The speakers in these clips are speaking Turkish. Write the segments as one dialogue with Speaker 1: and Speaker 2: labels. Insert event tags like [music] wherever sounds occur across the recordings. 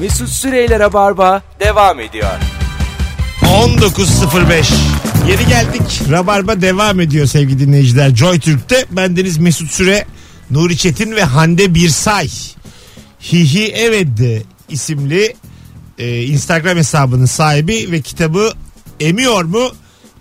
Speaker 1: Mesut Süreyler'e barba devam ediyor.
Speaker 2: 19.05 Geri geldik. Rabarba devam ediyor sevgili dinleyiciler. Joy Türk'te bendeniz Mesut Süre, Nuri Çetin ve Hande Birsay. Hihi Eveddi isimli e, Instagram hesabının sahibi ve kitabı emiyor mu?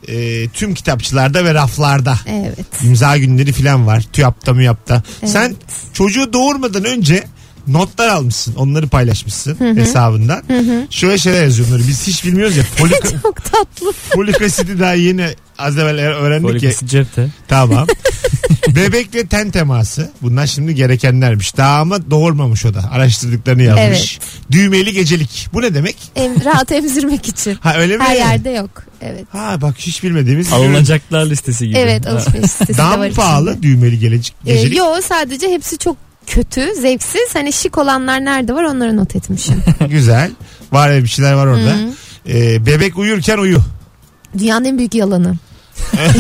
Speaker 2: E, tüm kitapçılarda ve raflarda.
Speaker 3: Evet.
Speaker 2: [laughs] İmza günleri falan var. TÜYAP'ta MÜYAP'ta. Sen çocuğu doğurmadan önce notlar almışsın. Onları paylaşmışsın hesabından. Şöyle şeyler yazıyor Nuri. Biz hiç bilmiyoruz ya. Folik,
Speaker 3: Çok tatlı.
Speaker 2: folik asidi daha yeni az evvel er- öğrendik ya.
Speaker 4: Polikisi cepte.
Speaker 3: [laughs]
Speaker 2: Tamam. Bebekle ten teması. Bunlar şimdi gerekenlermiş. Daha ama doğurmamış o da. Araştırdıklarını yazmış. Düğmeli gecelik. Bu ne demek?
Speaker 3: Em, rahat emzirmek için.
Speaker 2: Ha öyle mi?
Speaker 3: Her yerde yok. Evet.
Speaker 2: Ha bak hiç bilmediğimiz. bir ürün.
Speaker 4: Alınacaklar listesi gibi.
Speaker 3: Evet
Speaker 4: Ha.
Speaker 2: [laughs]
Speaker 3: alışveriş sitesi de
Speaker 2: Daha
Speaker 3: var
Speaker 2: mı
Speaker 3: içinde.
Speaker 2: pahalı düğmeli gelecek,
Speaker 3: Ee,
Speaker 2: gecelik?
Speaker 3: yo sadece hepsi çok kötü, zevksiz. Hani şık olanlar nerede var onları
Speaker 2: [laughs]
Speaker 3: not etmişim.
Speaker 2: [laughs] Güzel. Var ya bir şeyler var orada. Ee, bebek uyurken uyu.
Speaker 3: Dünyanın en
Speaker 2: [laughs]
Speaker 3: büyük yalanı.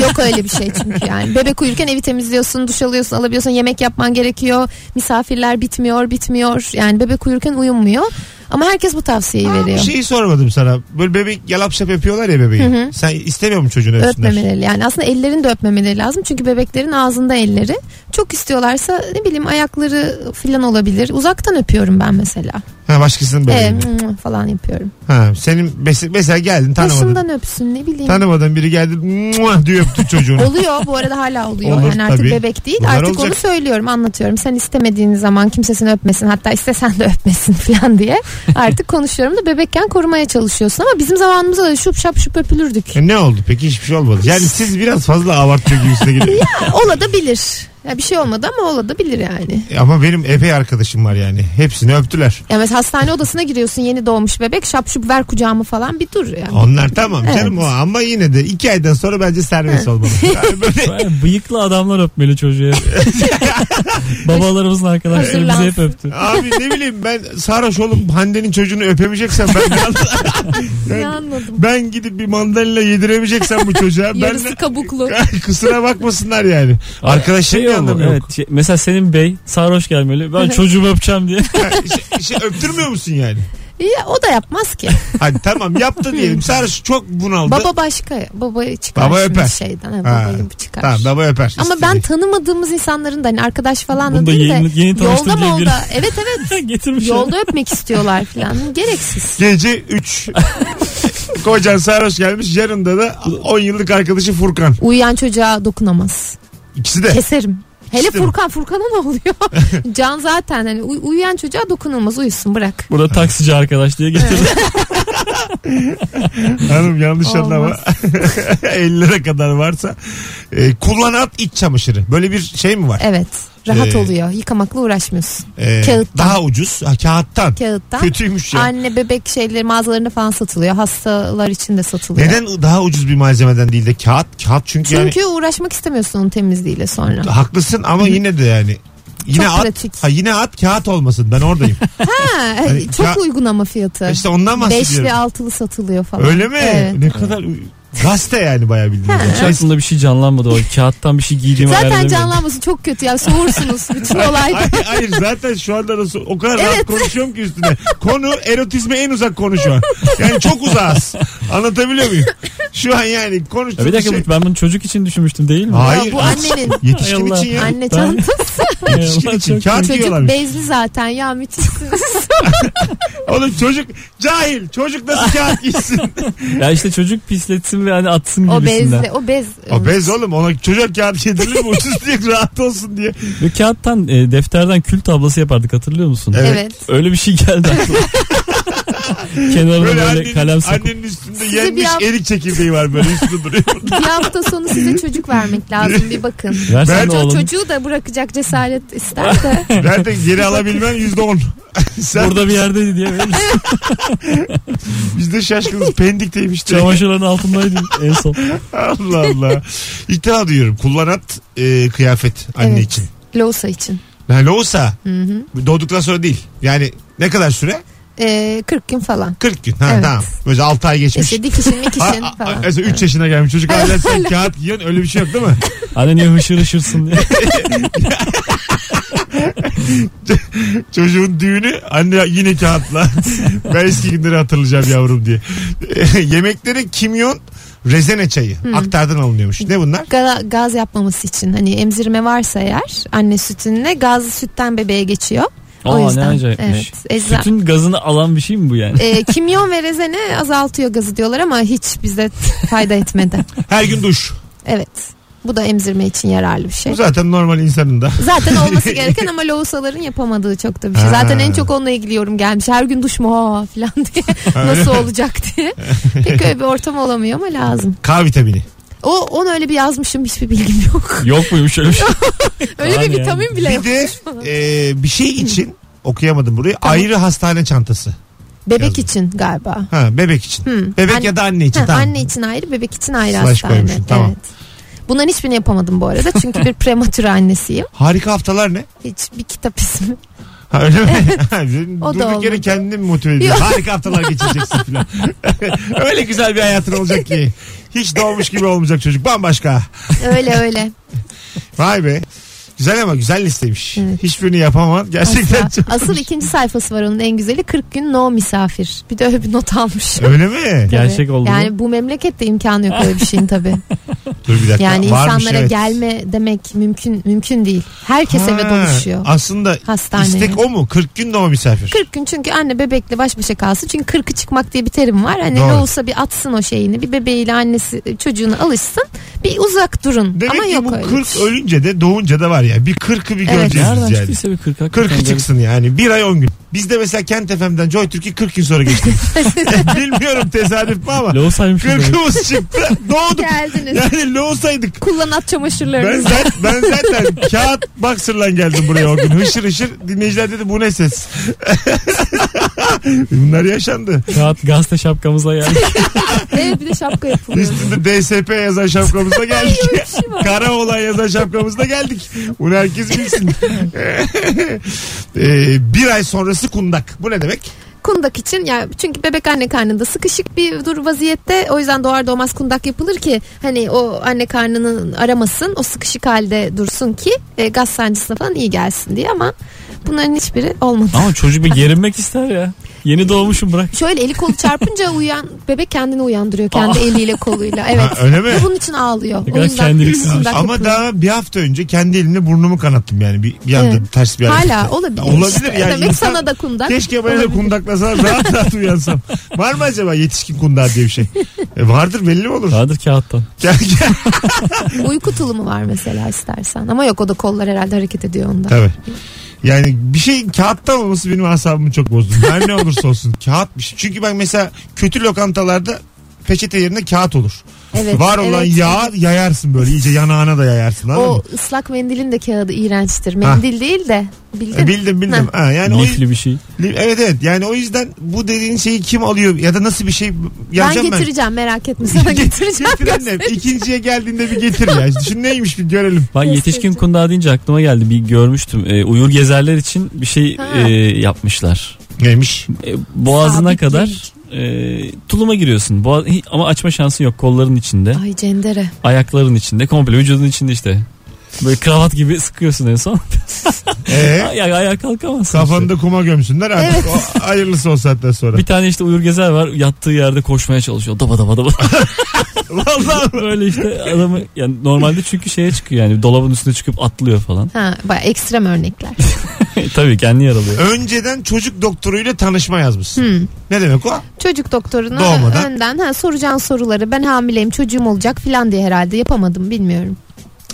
Speaker 3: Yok öyle bir şey çünkü yani. Bebek uyurken evi temizliyorsun, duş alıyorsun, alabiliyorsun, yemek yapman gerekiyor. Misafirler bitmiyor, bitmiyor. Yani bebek uyurken uyumuyor. Ama herkes bu tavsiyeyi
Speaker 2: Bir
Speaker 3: veriyor.
Speaker 2: şeyi sormadım sana. Böyle bebek yalap şap yapıyorlar ya bebeği. Sen istemiyor musun çocuğunu öpsünler?
Speaker 3: Öpmemeleri yani aslında ellerini de öpmemeleri lazım çünkü bebeklerin ağzında elleri çok istiyorlarsa ne bileyim ayakları filan olabilir uzaktan öpüyorum ben mesela
Speaker 2: Ha, başkasının
Speaker 3: Ee,
Speaker 2: bebeğini.
Speaker 3: mmm falan yapıyorum
Speaker 2: Ha, senin bes- mesela geldin tanımadın.
Speaker 3: başından öpsün ne bileyim
Speaker 2: Tanımadan biri geldi muah diye öptü çocuğunu.
Speaker 3: Oluyor bu
Speaker 2: [laughs]
Speaker 3: arada hala oluyor.
Speaker 2: Olur,
Speaker 3: yani artık
Speaker 2: tabii.
Speaker 3: bebek değil.
Speaker 2: Bunlar
Speaker 3: artık onu
Speaker 2: olacak.
Speaker 3: söylüyorum, anlatıyorum. Sen istemediğin zaman kimsesini öpmesin. Hatta istesen de öpmesin [laughs] falan diye. Artık konuşuyorum da bebekken korumaya çalışıyorsun ama bizim zamanımızda da şup şap şup öpülürdük.
Speaker 2: E, ne oldu peki hiçbir şey olmadı. Yani siz biraz fazla abartıyor gibisine
Speaker 3: [laughs]
Speaker 2: gidiyor.
Speaker 3: Ola da bilir. Ya bir şey olmadı ama ola da bilir yani.
Speaker 2: Ama benim epey arkadaşım var yani. Hepsini öptüler.
Speaker 3: Ya mesela hastane odasına giriyorsun yeni doğmuş bebek şap şup ver kucağımı falan bir dur yani.
Speaker 2: Onlar tamam
Speaker 3: Evet.
Speaker 2: canım o ama yine de iki aydan sonra bence serbest
Speaker 3: [laughs]
Speaker 2: olmalı. Yani böyle
Speaker 4: Vay, Bıyıklı adamlar öpmeli çocuğu. Babalarımızın arkadaşları bizi hep öptü.
Speaker 2: Abi ne bileyim ben sarhoş olup Hande'nin çocuğunu öpemeyeceksem ben ne
Speaker 3: [laughs]
Speaker 2: anla-
Speaker 3: Ne anladım.
Speaker 2: ben gidip bir mandalina yediremeyeceksem bu çocuğa ben
Speaker 3: Yarısı kabuklu.
Speaker 2: [laughs] kusura bakmasınlar yani. Arkadaşım şey
Speaker 4: Şey oldu,
Speaker 2: anlamı yok.
Speaker 4: evet, şey- mesela senin bey sarhoş gelmeli. Ben çocuğumu öpeceğim diye. [laughs]
Speaker 2: Şey- şey öptürmüyor musun yani?
Speaker 3: [laughs] Ya, o da yapmaz ki.
Speaker 2: Hadi tamam yaptı
Speaker 3: [laughs]
Speaker 2: diyelim. Sarhoş çok bunaldı.
Speaker 3: Baba başka. Baba çıkar.
Speaker 2: Baba
Speaker 3: şimdi
Speaker 2: öper.
Speaker 3: Şeyden. Ha,
Speaker 2: Ha,
Speaker 3: babayı çıkar.
Speaker 2: Tamam şey- baba öper.
Speaker 3: Ama ben
Speaker 2: İstediği.
Speaker 3: tanımadığımız insanların da hani arkadaş falan
Speaker 4: Bunu
Speaker 3: da
Speaker 4: da
Speaker 3: değil de
Speaker 4: yeni- yeni tanıştım
Speaker 3: yolda
Speaker 4: diye
Speaker 3: molda
Speaker 4: biri-
Speaker 3: evet
Speaker 2: [laughs]
Speaker 3: evet
Speaker 4: Getirmiş.
Speaker 2: şey
Speaker 3: yolda öpmek istiyorlar falan gereksiz.
Speaker 2: Gece
Speaker 3: [laughs]
Speaker 2: 3. Kocan sarhoş gelmiş. Yanında da 10 yıllık arkadaşı Furkan.
Speaker 3: Uyuyan çocuğa dokunamaz.
Speaker 2: İkisi de.
Speaker 3: Keserim. Hele
Speaker 2: İşte bu.
Speaker 3: Furkan Furkan'a ne
Speaker 2: [laughs]
Speaker 3: oluyor? Can zaten hani uy- uyuyan çocuğa dokunulmaz uyusun bırak.
Speaker 4: Bu da taksici arkadaş diye getirdi.
Speaker 2: Hanım yanlış
Speaker 3: Olmaz.
Speaker 2: anlama. [laughs] 50 lira kadar varsa. E, kullan at iç çamaşırı. Böyle bir şey mi var?
Speaker 3: Evet rahat
Speaker 2: Ee,
Speaker 3: oluyor yıkamakla uğraşmıyorsun.
Speaker 2: E,
Speaker 3: Kağıttan.
Speaker 2: Daha ucuz. Ha, kağıttan.
Speaker 3: Kağıttan
Speaker 2: Kötüymüş ya.
Speaker 3: anne bebek şeyleri mağazalarında falan satılıyor hastalar için de satılıyor.
Speaker 2: Neden daha ucuz bir malzemeden değil de kağıt? Kağıt çünkü,
Speaker 3: Çünkü uğraşmak istemiyorsun onun temizliğiyle sonra.
Speaker 2: yani haklısın ama yine de yani. Yine
Speaker 3: Çok
Speaker 2: at,
Speaker 3: pratik.
Speaker 2: Ha, yine at kağıt olmasın. Ben
Speaker 3: [laughs]
Speaker 2: oradayım.
Speaker 3: Ha,
Speaker 2: Hani
Speaker 3: çok
Speaker 2: ka-
Speaker 3: uygun ama fiyatı.
Speaker 2: e işte ondan bahsediyorum.
Speaker 3: Beşli altılı satılıyor falan.
Speaker 2: Öyle mi?
Speaker 3: Evet.
Speaker 2: Ne kadar gazete yani bayağı bildiğiniz.
Speaker 4: Hiç aklımda bir şey canlanmadı. O kağıttan bir şey giydiğimi hayal
Speaker 3: Zaten
Speaker 4: edemiyorum.
Speaker 3: canlanması çok kötü ya soğursunuz
Speaker 2: [laughs]
Speaker 3: bütün
Speaker 2: Hayır,
Speaker 3: olayda.
Speaker 2: hayır zaten şu anda nasıl o kadar rahat konuşuyorum ki üstüne. Konu erotizme en uzak konu şu an. Yani çok uzağız. Anlatabiliyor muyum? Şu an yani
Speaker 4: Ya
Speaker 2: konuştuğum
Speaker 4: E bir dakika
Speaker 2: şey.
Speaker 4: ben bunu çocuk için düşünmüştüm değil [laughs] mi?
Speaker 2: Hayır.
Speaker 3: Ya bu annenin.
Speaker 2: Yetişkin
Speaker 4: Ay Allah.
Speaker 2: için ya.
Speaker 3: Anne
Speaker 4: Ben-
Speaker 3: çantası
Speaker 2: Yetişkin için
Speaker 4: Çok-
Speaker 2: kağıt
Speaker 3: çocuk
Speaker 2: yiyorlarmış.
Speaker 3: bezli zaten
Speaker 2: [laughs]
Speaker 3: ya müthişsiniz.
Speaker 2: Oğlum çocuk cahil. Çocuk nasıl kağıt [laughs] gitsin?
Speaker 4: Ya işte çocuk pisletsin ve hani atsın
Speaker 3: o
Speaker 4: gibisinden.
Speaker 3: bezli o bez.
Speaker 2: o bez oğlum. Ona çocuk kağıt yedirilir mi? Ucuz diye rahat olsun diye.
Speaker 4: Ve kağıttan e, defterden kül tablası yapardık hatırlıyor musun?
Speaker 2: Evet.
Speaker 3: Evet.
Speaker 4: Öyle bir şey geldi
Speaker 2: [laughs]
Speaker 4: aklıma. Kenarına
Speaker 2: Böyle
Speaker 4: böyle,
Speaker 2: annenin,
Speaker 4: kalem sokup.
Speaker 2: annenin üstünde
Speaker 3: Sizi
Speaker 2: yenmiş
Speaker 3: bir an-
Speaker 2: erik çekirdeği var böyle üstünde
Speaker 4: [laughs]
Speaker 2: duruyor.
Speaker 3: Bir hafta sonu size çocuk vermek lazım
Speaker 2: [laughs]
Speaker 3: bir bakın.
Speaker 4: Versen
Speaker 2: Ben-
Speaker 4: de
Speaker 3: O
Speaker 4: oğlum.
Speaker 3: çocuğu da bırakacak cesaret
Speaker 2: [laughs]
Speaker 3: ister de.
Speaker 2: Nereden geri alabilmen yüzde on. Sen
Speaker 4: Burada bir yerdeydi diye verir misin?
Speaker 2: biz de şaşkınız. Pendikteymiş. diye.
Speaker 4: Çamaşırların altındaydı en son.
Speaker 2: Allah Allah. İlk defa duyuyorum. Kullanat e, kıyafet anne
Speaker 3: Evet.
Speaker 2: için.
Speaker 3: Loğusa için.
Speaker 2: Yani olsa doğduktan sonra değil. Yani ne kadar süre?
Speaker 3: e, 40 gün falan.
Speaker 2: 40 gün. Ha,
Speaker 3: Evet.
Speaker 2: Tamam. Böyle 6 ay geçmiş.
Speaker 3: İşte dikişin mikişin
Speaker 2: Ha, ha,
Speaker 3: falan.
Speaker 2: Mesela 3 yaşına gelmiş çocuk hala sen kağıt giyiyorsun öyle bir şey yok değil
Speaker 3: [laughs]
Speaker 2: mi?
Speaker 4: Anne niye hışır
Speaker 2: [laughs]
Speaker 4: hışırsın diye.
Speaker 2: Çocuğun düğünü anne yine
Speaker 3: [laughs]
Speaker 2: kağıtla. ben eski günleri hatırlayacağım yavrum diye. [laughs] Yemeklere kimyon rezene çayı. Aktardan alınıyormuş. Ne bunlar?
Speaker 3: Ga- gaz yapmaması için hani emzirme varsa eğer anne sütünle gaz sütten bebeğe geçiyor. O
Speaker 4: Aa ne
Speaker 3: yüzden.
Speaker 4: acayipmiş.
Speaker 3: Evet. Ecza- [laughs]
Speaker 4: Sütün gazını alan bir şey mi
Speaker 2: [laughs]
Speaker 4: bu yani?
Speaker 3: E, kimyon ve rezene azaltıyor gazı diyorlar ama hiç bize fayda etmedi.
Speaker 2: Her gün duş.
Speaker 3: Evet. Bu da emzirme için yararlı bir şey.
Speaker 2: Bu zaten normal insanın da.
Speaker 3: Zaten olması gereken ama lohusaların yapamadığı çok da bir şey.
Speaker 2: Ha.
Speaker 3: Zaten en çok onunla ilgili yorum gelmiş. Her gün duş mu ha falan diye. Nasıl olacak diye. Pek öyle bir ortam olamıyor ama lazım.
Speaker 2: K vitamini.
Speaker 3: O onu öyle bir yazmışım hiçbir bilgim yok.
Speaker 4: Yok muymuş öyle bir şey?
Speaker 3: öyle
Speaker 4: Yani
Speaker 3: bir
Speaker 4: yani.
Speaker 3: vitamin [laughs] bile
Speaker 2: Bir
Speaker 3: yok.
Speaker 2: de e, bir şey için okuyamadım burayı. Ayrı hastane çantası.
Speaker 3: Bebek
Speaker 2: yazdım.
Speaker 3: için galiba.
Speaker 2: Ha bebek için.
Speaker 3: Hı.
Speaker 2: Bebek
Speaker 3: Anne-
Speaker 2: ya da anne için.
Speaker 3: Ha,
Speaker 2: tamam.
Speaker 3: Anne için ayrı, bebek için ayrı
Speaker 2: Slash
Speaker 3: hastane.
Speaker 2: koymuşsun, tamam.
Speaker 3: Evet. Bunların hiçbirini yapamadım bu arada.
Speaker 2: [laughs]
Speaker 3: Çünkü bir prematür annesiyim.
Speaker 2: Harika haftalar ne?
Speaker 3: Hiç bir kitap ismi.
Speaker 2: Ha öyle mi? Ha, Durduk
Speaker 3: O da olmadı.
Speaker 2: yere kendini mi motive ediyor?
Speaker 3: Yok.
Speaker 2: Harika haftalar geçireceksin falan. [laughs] öyle güzel bir hayatın olacak ki. Hiç doğmuş gibi olmayacak çocuk. Bambaşka.
Speaker 3: Öyle
Speaker 2: [laughs]
Speaker 3: öyle.
Speaker 2: Vay be. Güzel ama güzel listeymiş.
Speaker 3: Evet.
Speaker 2: Hiçbirini yapamam. Gerçekten
Speaker 3: Asla.
Speaker 2: çok.
Speaker 3: Asıl ikinci sayfası var onun en güzeli 40 gün no misafir. Bir de öyle bir not
Speaker 2: [laughs]
Speaker 3: almış.
Speaker 2: Öyle mi?
Speaker 3: Tabii.
Speaker 4: Gerçek oldu mu?
Speaker 3: Yani bu memlekette imkanı yok öyle bir
Speaker 2: [laughs]
Speaker 3: şeyin tabii.
Speaker 2: Dur bir dakika.
Speaker 3: Yani
Speaker 2: Varmış,
Speaker 3: insanlara
Speaker 2: evet.
Speaker 3: gelme demek mümkün mümkün değil. Herkes
Speaker 2: Ha,
Speaker 3: eve doluşuyor.
Speaker 2: Aslında
Speaker 3: Hastaneye.
Speaker 2: istek o mu? 40 gün de o misafir.
Speaker 3: 40 gün çünkü anne bebekle baş başa kalsın. Çünkü 40'ı çıkmak diye bir terim var. Hani
Speaker 2: Doğru.
Speaker 3: ne olsa bir atsın o şeyini. Bir bebeğiyle annesi e, çocuğuna alışsın. Bir uzak durun.
Speaker 2: Demek
Speaker 3: Ama
Speaker 2: ki
Speaker 3: yok
Speaker 2: bu
Speaker 3: öyle. şey.
Speaker 2: 40 ölünce de doğunca da var ya. Bir 40'ı bir
Speaker 3: Evet.
Speaker 2: göreceğiz
Speaker 4: Nereden
Speaker 2: biz yani.
Speaker 4: çıktıysa bir 40 hakikaten
Speaker 2: 40'ı
Speaker 4: garip.
Speaker 2: çıksın yani. Bir ay 10 gün. Bizde mesela Kent FM'den Joy Türkiye 40 gün sonra
Speaker 3: [laughs]
Speaker 2: geçti. Bilmiyorum tesadüf mü ama.
Speaker 4: Lohusaymış bu demek.
Speaker 2: 40'ımız çıktı. Doğduk.
Speaker 3: Geldiniz.
Speaker 2: Yani loğusaydık.
Speaker 3: Kullan at
Speaker 2: Ben,
Speaker 3: çamaşırlarınızı.
Speaker 2: zaten, ben zaten kağıt boxer'la geldim buraya o gün. Hışır hışır dinleyiciler dedi bu ne ses? [laughs] Bunlar yaşandı.
Speaker 4: Kağıt gazete
Speaker 2: [laughs]
Speaker 4: şapkamıza geldi.
Speaker 3: Evet bir de şapka yapılıyor.
Speaker 2: Üstünde DSP yazan şapkamızda geldik.
Speaker 3: şey
Speaker 2: Kara olan yazan şapkamızda geldik. Bunu herkes bilsin. Ee, bir ay sonrası kundak. Bu ne demek?
Speaker 3: kundak için yani çünkü bebek anne karnında sıkışık bir dur vaziyette o yüzden doğar doğmaz kundak yapılır ki hani o anne karnını aramasın o sıkışık halde dursun ki e, gaz sancısına falan iyi gelsin diye ama bunların hiçbiri olmadı.
Speaker 4: Ama çocuk bir gerinmek ister ya. Yeni doğmuşum bırak.
Speaker 3: Şöyle eli kolu
Speaker 2: [laughs]
Speaker 3: çarpınca uyuyan bebek kendini uyandırıyor kendi
Speaker 4: Aa.
Speaker 3: eliyle koluyla evet.
Speaker 2: Ha, öyle mi?
Speaker 3: Ve bunun için ağlıyor.
Speaker 4: Ne kadar kendiliksizmiş.
Speaker 3: kundak
Speaker 2: Ama
Speaker 3: yapılıyor.
Speaker 2: daha bir hafta önce kendi elimle burnumu kanattım yani. Bir, bir anda
Speaker 3: Evet.
Speaker 2: ters bir
Speaker 3: Hala
Speaker 2: hareketle.
Speaker 3: olabilir.
Speaker 2: Olabilir
Speaker 3: işte.
Speaker 2: yani.
Speaker 3: Demek
Speaker 2: İnsan-
Speaker 3: sana da kundak.
Speaker 2: Keşke bana da
Speaker 3: Olabilir.
Speaker 2: kundaklasalar rahat rahat uyansam. Var mı acaba yetişkin kundağı diye bir şey? E vardır belli mi olur?
Speaker 4: Vardır kağıttan.
Speaker 2: Gel gel.
Speaker 3: Uyku tulumu var mesela istersen ama yok o da kollar herhalde hareket ediyor onda.
Speaker 2: Tabii. Yani bir şeyin kağıttan olması benim asabımı çok bozdu. Her ne olursa olsun [laughs] kağıt bir şey. Çünkü ben mesela kötü lokantalarda peçete yerine kağıt olur.
Speaker 3: Evet,
Speaker 2: Var olan
Speaker 3: evet,
Speaker 2: yağı yayarsın böyle iyice yanağına da yayarsın. anladın mı?
Speaker 3: O ıslak mendilin de kağıdı iğrençtir. Mendil değil de bildin.
Speaker 2: E, Bildim bildim. Ha, yani o,
Speaker 4: Lifli bir şey.
Speaker 2: li- evet evet yani o yüzden bu dediğin şeyi kim alıyor ya da nasıl bir şey
Speaker 3: ben
Speaker 2: yazacağım ben.
Speaker 3: getireceğim merak
Speaker 2: [laughs]
Speaker 3: etme sana getireceğim.
Speaker 2: Getir annem. İkinciye geldiğinde bir getir ya. Düşün neymiş bir görelim.
Speaker 4: Ben yetişkin kundağı deyince aklıma geldi. Bir görmüştüm. Ee, uyur gezerler için bir şey
Speaker 3: Ha.
Speaker 4: e, yapmışlar.
Speaker 2: Neymiş?
Speaker 4: E, boğazına
Speaker 3: Sabit
Speaker 4: kadar e, tuluma giriyorsun. Boğaz, hi- ama açma şansın yok. Kolların içinde,
Speaker 3: Ay cendere.
Speaker 4: ayakların içinde, komple vücudun içinde işte. Böyle kravat gibi sıkıyorsun en son.
Speaker 2: Ee,
Speaker 4: Ay, ay- ayağa kalkamazsın.
Speaker 2: kafanda kuma gömsünler artık.
Speaker 3: Evet.
Speaker 2: O, hayırlısı o saatten sonra.
Speaker 4: işte. Bir tane işte uyur gezer var. Yattığı yerde koşmaya çalışıyor. Daba daba [laughs] daba.
Speaker 2: Vallahi
Speaker 4: Böyle işte adamı yani normalde çünkü şeye çıkıyor yani dolabın üstüne çıkıp atlıyor falan. [laughs]
Speaker 3: Ha, baya ekstrem örnekler.
Speaker 4: Tabii kendi yaralıyor.
Speaker 2: Önceden çocuk doktoruyla tanışma yazmışsın.
Speaker 3: Hmm.
Speaker 2: Ne demek o?
Speaker 3: Çocuk doktoruna
Speaker 2: Doğmadan.
Speaker 3: önden ha, soracağın soruları ben hamileyim çocuğum olacak filan diye herhalde yapamadım bilmiyorum.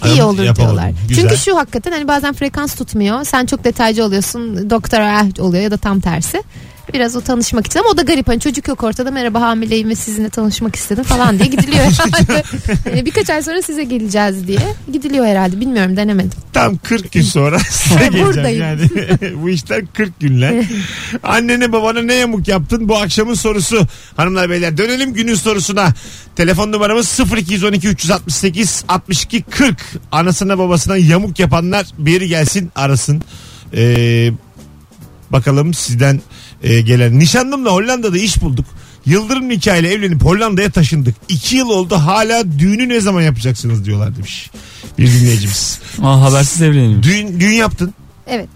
Speaker 3: İyi
Speaker 2: Yap-
Speaker 3: olur
Speaker 2: yapamadım.
Speaker 3: diyorlar.
Speaker 2: Güzel.
Speaker 3: Çünkü şu hakikaten hani bazen frekans tutmuyor. Sen çok detaycı oluyorsun. Doktor ah oluyor ya da tam tersi. Biraz o tanışmak için ama o da garip. Hani çocuk yok ortada merhaba hamileyim ve sizinle tanışmak istedim falan diye
Speaker 2: [laughs]
Speaker 3: gidiliyor herhalde. Yani Birkaç ay sonra size geleceğiz diye gidiliyor herhalde. Bilmiyorum denemedim.
Speaker 2: Tam 40 gün sonra [laughs] size geleceğim
Speaker 3: Buradayım.
Speaker 2: yani. [laughs] bu işler 40 günler. Annene babana ne yamuk yaptın bu akşamın sorusu. Hanımlar beyler dönelim günün sorusuna. Telefon numaramız 0212 368 62 40. Anasına babasına yamuk yapanlar bir gelsin arasın. Ee, Bakalım sizden e, gelen. Nişanlımla Hollanda'da iş bulduk. Yıldırım nikahıyla evlenip Hollanda'ya taşındık. İki yıl oldu hala düğünü ne zaman yapacaksınız diyorlar demiş. Bir dinleyicimiz.
Speaker 4: Aa, habersiz evlenelim.
Speaker 2: düğün, düğün yaptın.
Speaker 3: Evet.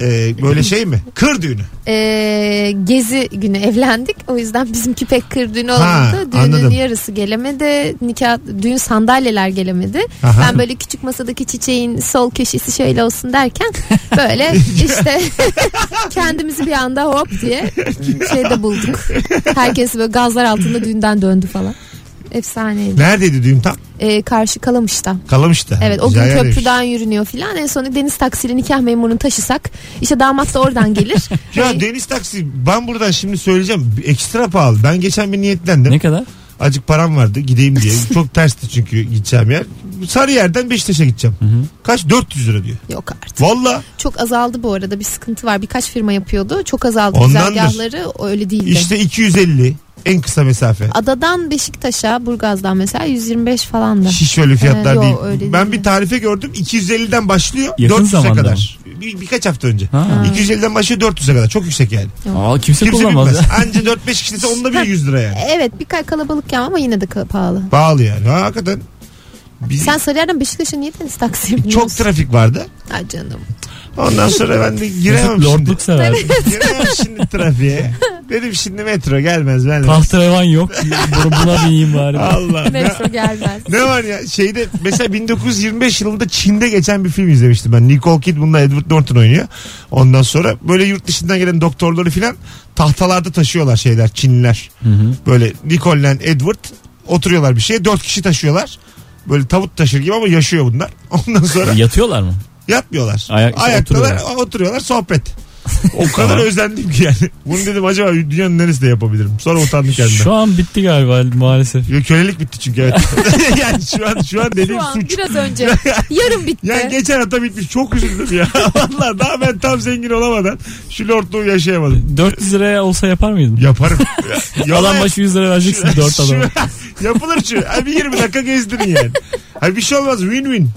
Speaker 2: E, böyle şey mi? Kır düğünü.
Speaker 3: Ee, gezi günü evlendik. O yüzden bizimki pek kır düğünü olmadı.
Speaker 2: Ha,
Speaker 3: Düğünün
Speaker 2: anladım.
Speaker 3: yarısı gelemedi. Nikah düğün sandalyeler gelemedi.
Speaker 2: Aha.
Speaker 3: Ben böyle küçük masadaki çiçeğin sol köşesi şöyle
Speaker 2: [laughs]
Speaker 3: olsun derken böyle işte [laughs] kendimizi bir anda hop diye şeyde bulduk. Herkes böyle gazlar altında düğünden döndü falan. Efsaneydi.
Speaker 2: Neredeydi düğün tam?
Speaker 3: Ee, karşı Kalamış'ta.
Speaker 2: Kalamış'ta.
Speaker 3: Evet o gün
Speaker 2: Güzel yer demiş.
Speaker 3: köprüden yürünüyor filan. En sonu deniz taksili nikah memurunu taşısak işte damat da oradan gelir.
Speaker 2: [laughs] Ya
Speaker 3: Hani-
Speaker 2: deniz taksi ben buradan şimdi söyleyeceğim ekstra pahalı. Ben geçen bir niyetlendim.
Speaker 4: Ne kadar?
Speaker 2: Acık param vardı gideyim
Speaker 3: [laughs]
Speaker 2: diye. Çok tersti çünkü gideceğim yer. Sarıyer'den Beşiktaş'a gideceğim. Kaç? 400 lira diyor.
Speaker 3: Yok artık.
Speaker 2: Valla
Speaker 3: Çok azaldı bu arada bir sıkıntı var. Birkaç firma yapıyordu. Çok azaldı
Speaker 2: Ondandır.
Speaker 3: güzergahları öyle değildi.
Speaker 2: işte 250 en kısa mesafe.
Speaker 3: Adadan Beşiktaş'a Burgaz'dan mesela 125 falan da.
Speaker 2: Hiç öyle fiyatlar
Speaker 3: Evet,
Speaker 2: değil.
Speaker 3: yok, Ee, öyle
Speaker 2: ben
Speaker 3: değil.
Speaker 2: bir tarife gördüm. 250'den başlıyor
Speaker 4: Yakın
Speaker 2: 400'e
Speaker 4: zamanda
Speaker 2: kadar. Bir, birkaç hafta önce.
Speaker 4: Ha.
Speaker 2: 250'den başlıyor 400'e kadar. Çok yüksek yani.
Speaker 4: Aa, kimse,
Speaker 2: Kimse
Speaker 4: kullanmaz
Speaker 2: bilmez.
Speaker 4: [laughs] ya.
Speaker 2: Anca 4-5 kişiyse onda bir 100
Speaker 4: [laughs]
Speaker 2: lira yani.
Speaker 3: Evet birkaç kalabalık ya ama yine de ka- pahalı.
Speaker 2: Pahalı yani. Ha, hakikaten. Biz-
Speaker 3: Sen Sarıyer'den Beşiktaş'a niye deniz taksiye biniyorsun?
Speaker 2: çok trafik vardı.
Speaker 3: Ay canım.
Speaker 2: Ondan sonra ben de [laughs] giremem
Speaker 4: Mesut
Speaker 2: şimdi.
Speaker 4: lordluk sever.
Speaker 2: Giremem şimdi
Speaker 4: [laughs]
Speaker 2: trafiğe. Dedim şimdi metro gelmez ben. de-
Speaker 4: Tahterevan yok. Bu- Buna bineyim bari.
Speaker 2: Allah. ne,
Speaker 3: Metro
Speaker 2: [laughs]
Speaker 3: gelmez.
Speaker 2: ne var ya şeyde mesela 1925 yılında Çin'de geçen bir film izlemiştim ben. Nicole Kidman'la Edward Norton oynuyor. Ondan sonra böyle yurt dışından gelen doktorları filan tahtalarda taşıyorlar şeyler Çinliler.
Speaker 4: Hı hı.
Speaker 2: Böyle Nicole'le Edward oturuyorlar bir şeye. Dört kişi taşıyorlar. Böyle tavut taşır gibi ama yaşıyor bunlar. [laughs] Ondan sonra
Speaker 4: Yatıyorlar mı?
Speaker 2: Yatmıyorlar.
Speaker 4: Ayak-
Speaker 2: Ayaktalar oturuyorlar.
Speaker 4: oturuyorlar. [laughs]
Speaker 2: sohbet. O kadar özendim ki yani. Bunu dedim acaba dünyanın neresinde yapabilirim? Sonra utandım kendime.
Speaker 4: Şu an bitti galiba maalesef.
Speaker 2: Ya Kölelik bitti çünkü
Speaker 4: [laughs]
Speaker 2: evet. [laughs] yani şu an şu an dediğim
Speaker 3: Şu an
Speaker 2: suç.
Speaker 3: biraz önce.
Speaker 2: [laughs]
Speaker 3: Yarın bitti.
Speaker 2: Yani geçen hafta bitmiş çok üzüldüm ya. [laughs] Vallahi daha ben tam zengin olamadan şu lordluğu yaşayamadım.
Speaker 4: 400 liraya olsa yapar mıydın?
Speaker 2: Yaparım.
Speaker 4: Yalan başı 100 lira vereceksin 4 adama.
Speaker 2: Şu- [laughs] yapılır şu. Ay bir 20 dakika gezdirin yani. Ay bir şey olmaz win win.